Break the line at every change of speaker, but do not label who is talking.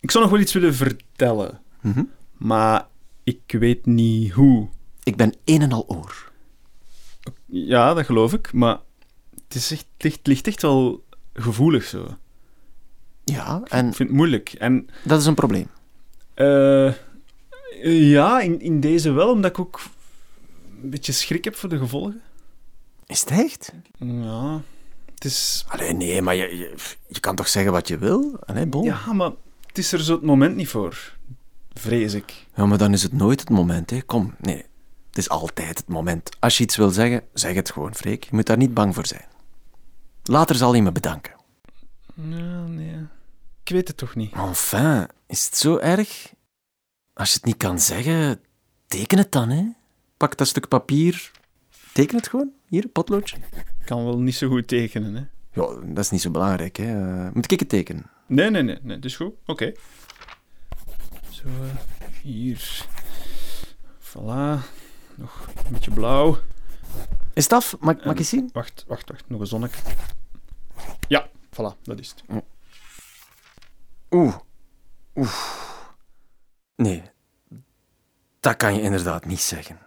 Ik zou nog wel iets willen vertellen,
Mhm.
maar ik weet niet hoe.
Ik ben een en al oor.
Ja, dat geloof ik, maar het, is echt, het ligt echt wel gevoelig zo.
Ja, en
Ik vind het moeilijk. En
dat is een probleem.
eh, ja, in, in deze wel, omdat ik ook een beetje schrik heb voor de gevolgen.
Is het echt?
Ja, het is...
Allee, nee, maar je, je, je kan toch zeggen wat je wil? Allee, bon.
Ja, maar het is er zo het moment niet voor. Vrees ik.
Ja, maar dan is het nooit het moment, hè. Kom, nee. Het is altijd het moment. Als je iets wil zeggen, zeg het gewoon, Freek. Je moet daar niet bang voor zijn. Later zal hij me bedanken.
Ja, nee. Ik weet het toch niet.
Enfin, is het zo erg? Als je het niet kan zeggen, teken het dan, hè. Pak dat stuk papier. Teken het gewoon. Hier, potloodje.
Ik kan wel niet zo goed tekenen, hè.
Ja, dat is niet zo belangrijk, hè. Eh, Moet ik het tekenen?
Nee, nee, nee, nee, dat is goed. Oké. Zo, eh, hier. Voilà. Nog een beetje blauw.
Is het af? Mag, mag
En-
ik eens zien?
Wacht, wacht, wacht. Nog een zonnetje. Ja, voilà, dat is het.
Oeh. Oeh. Nee. Dat kan je inderdaad niet zeggen.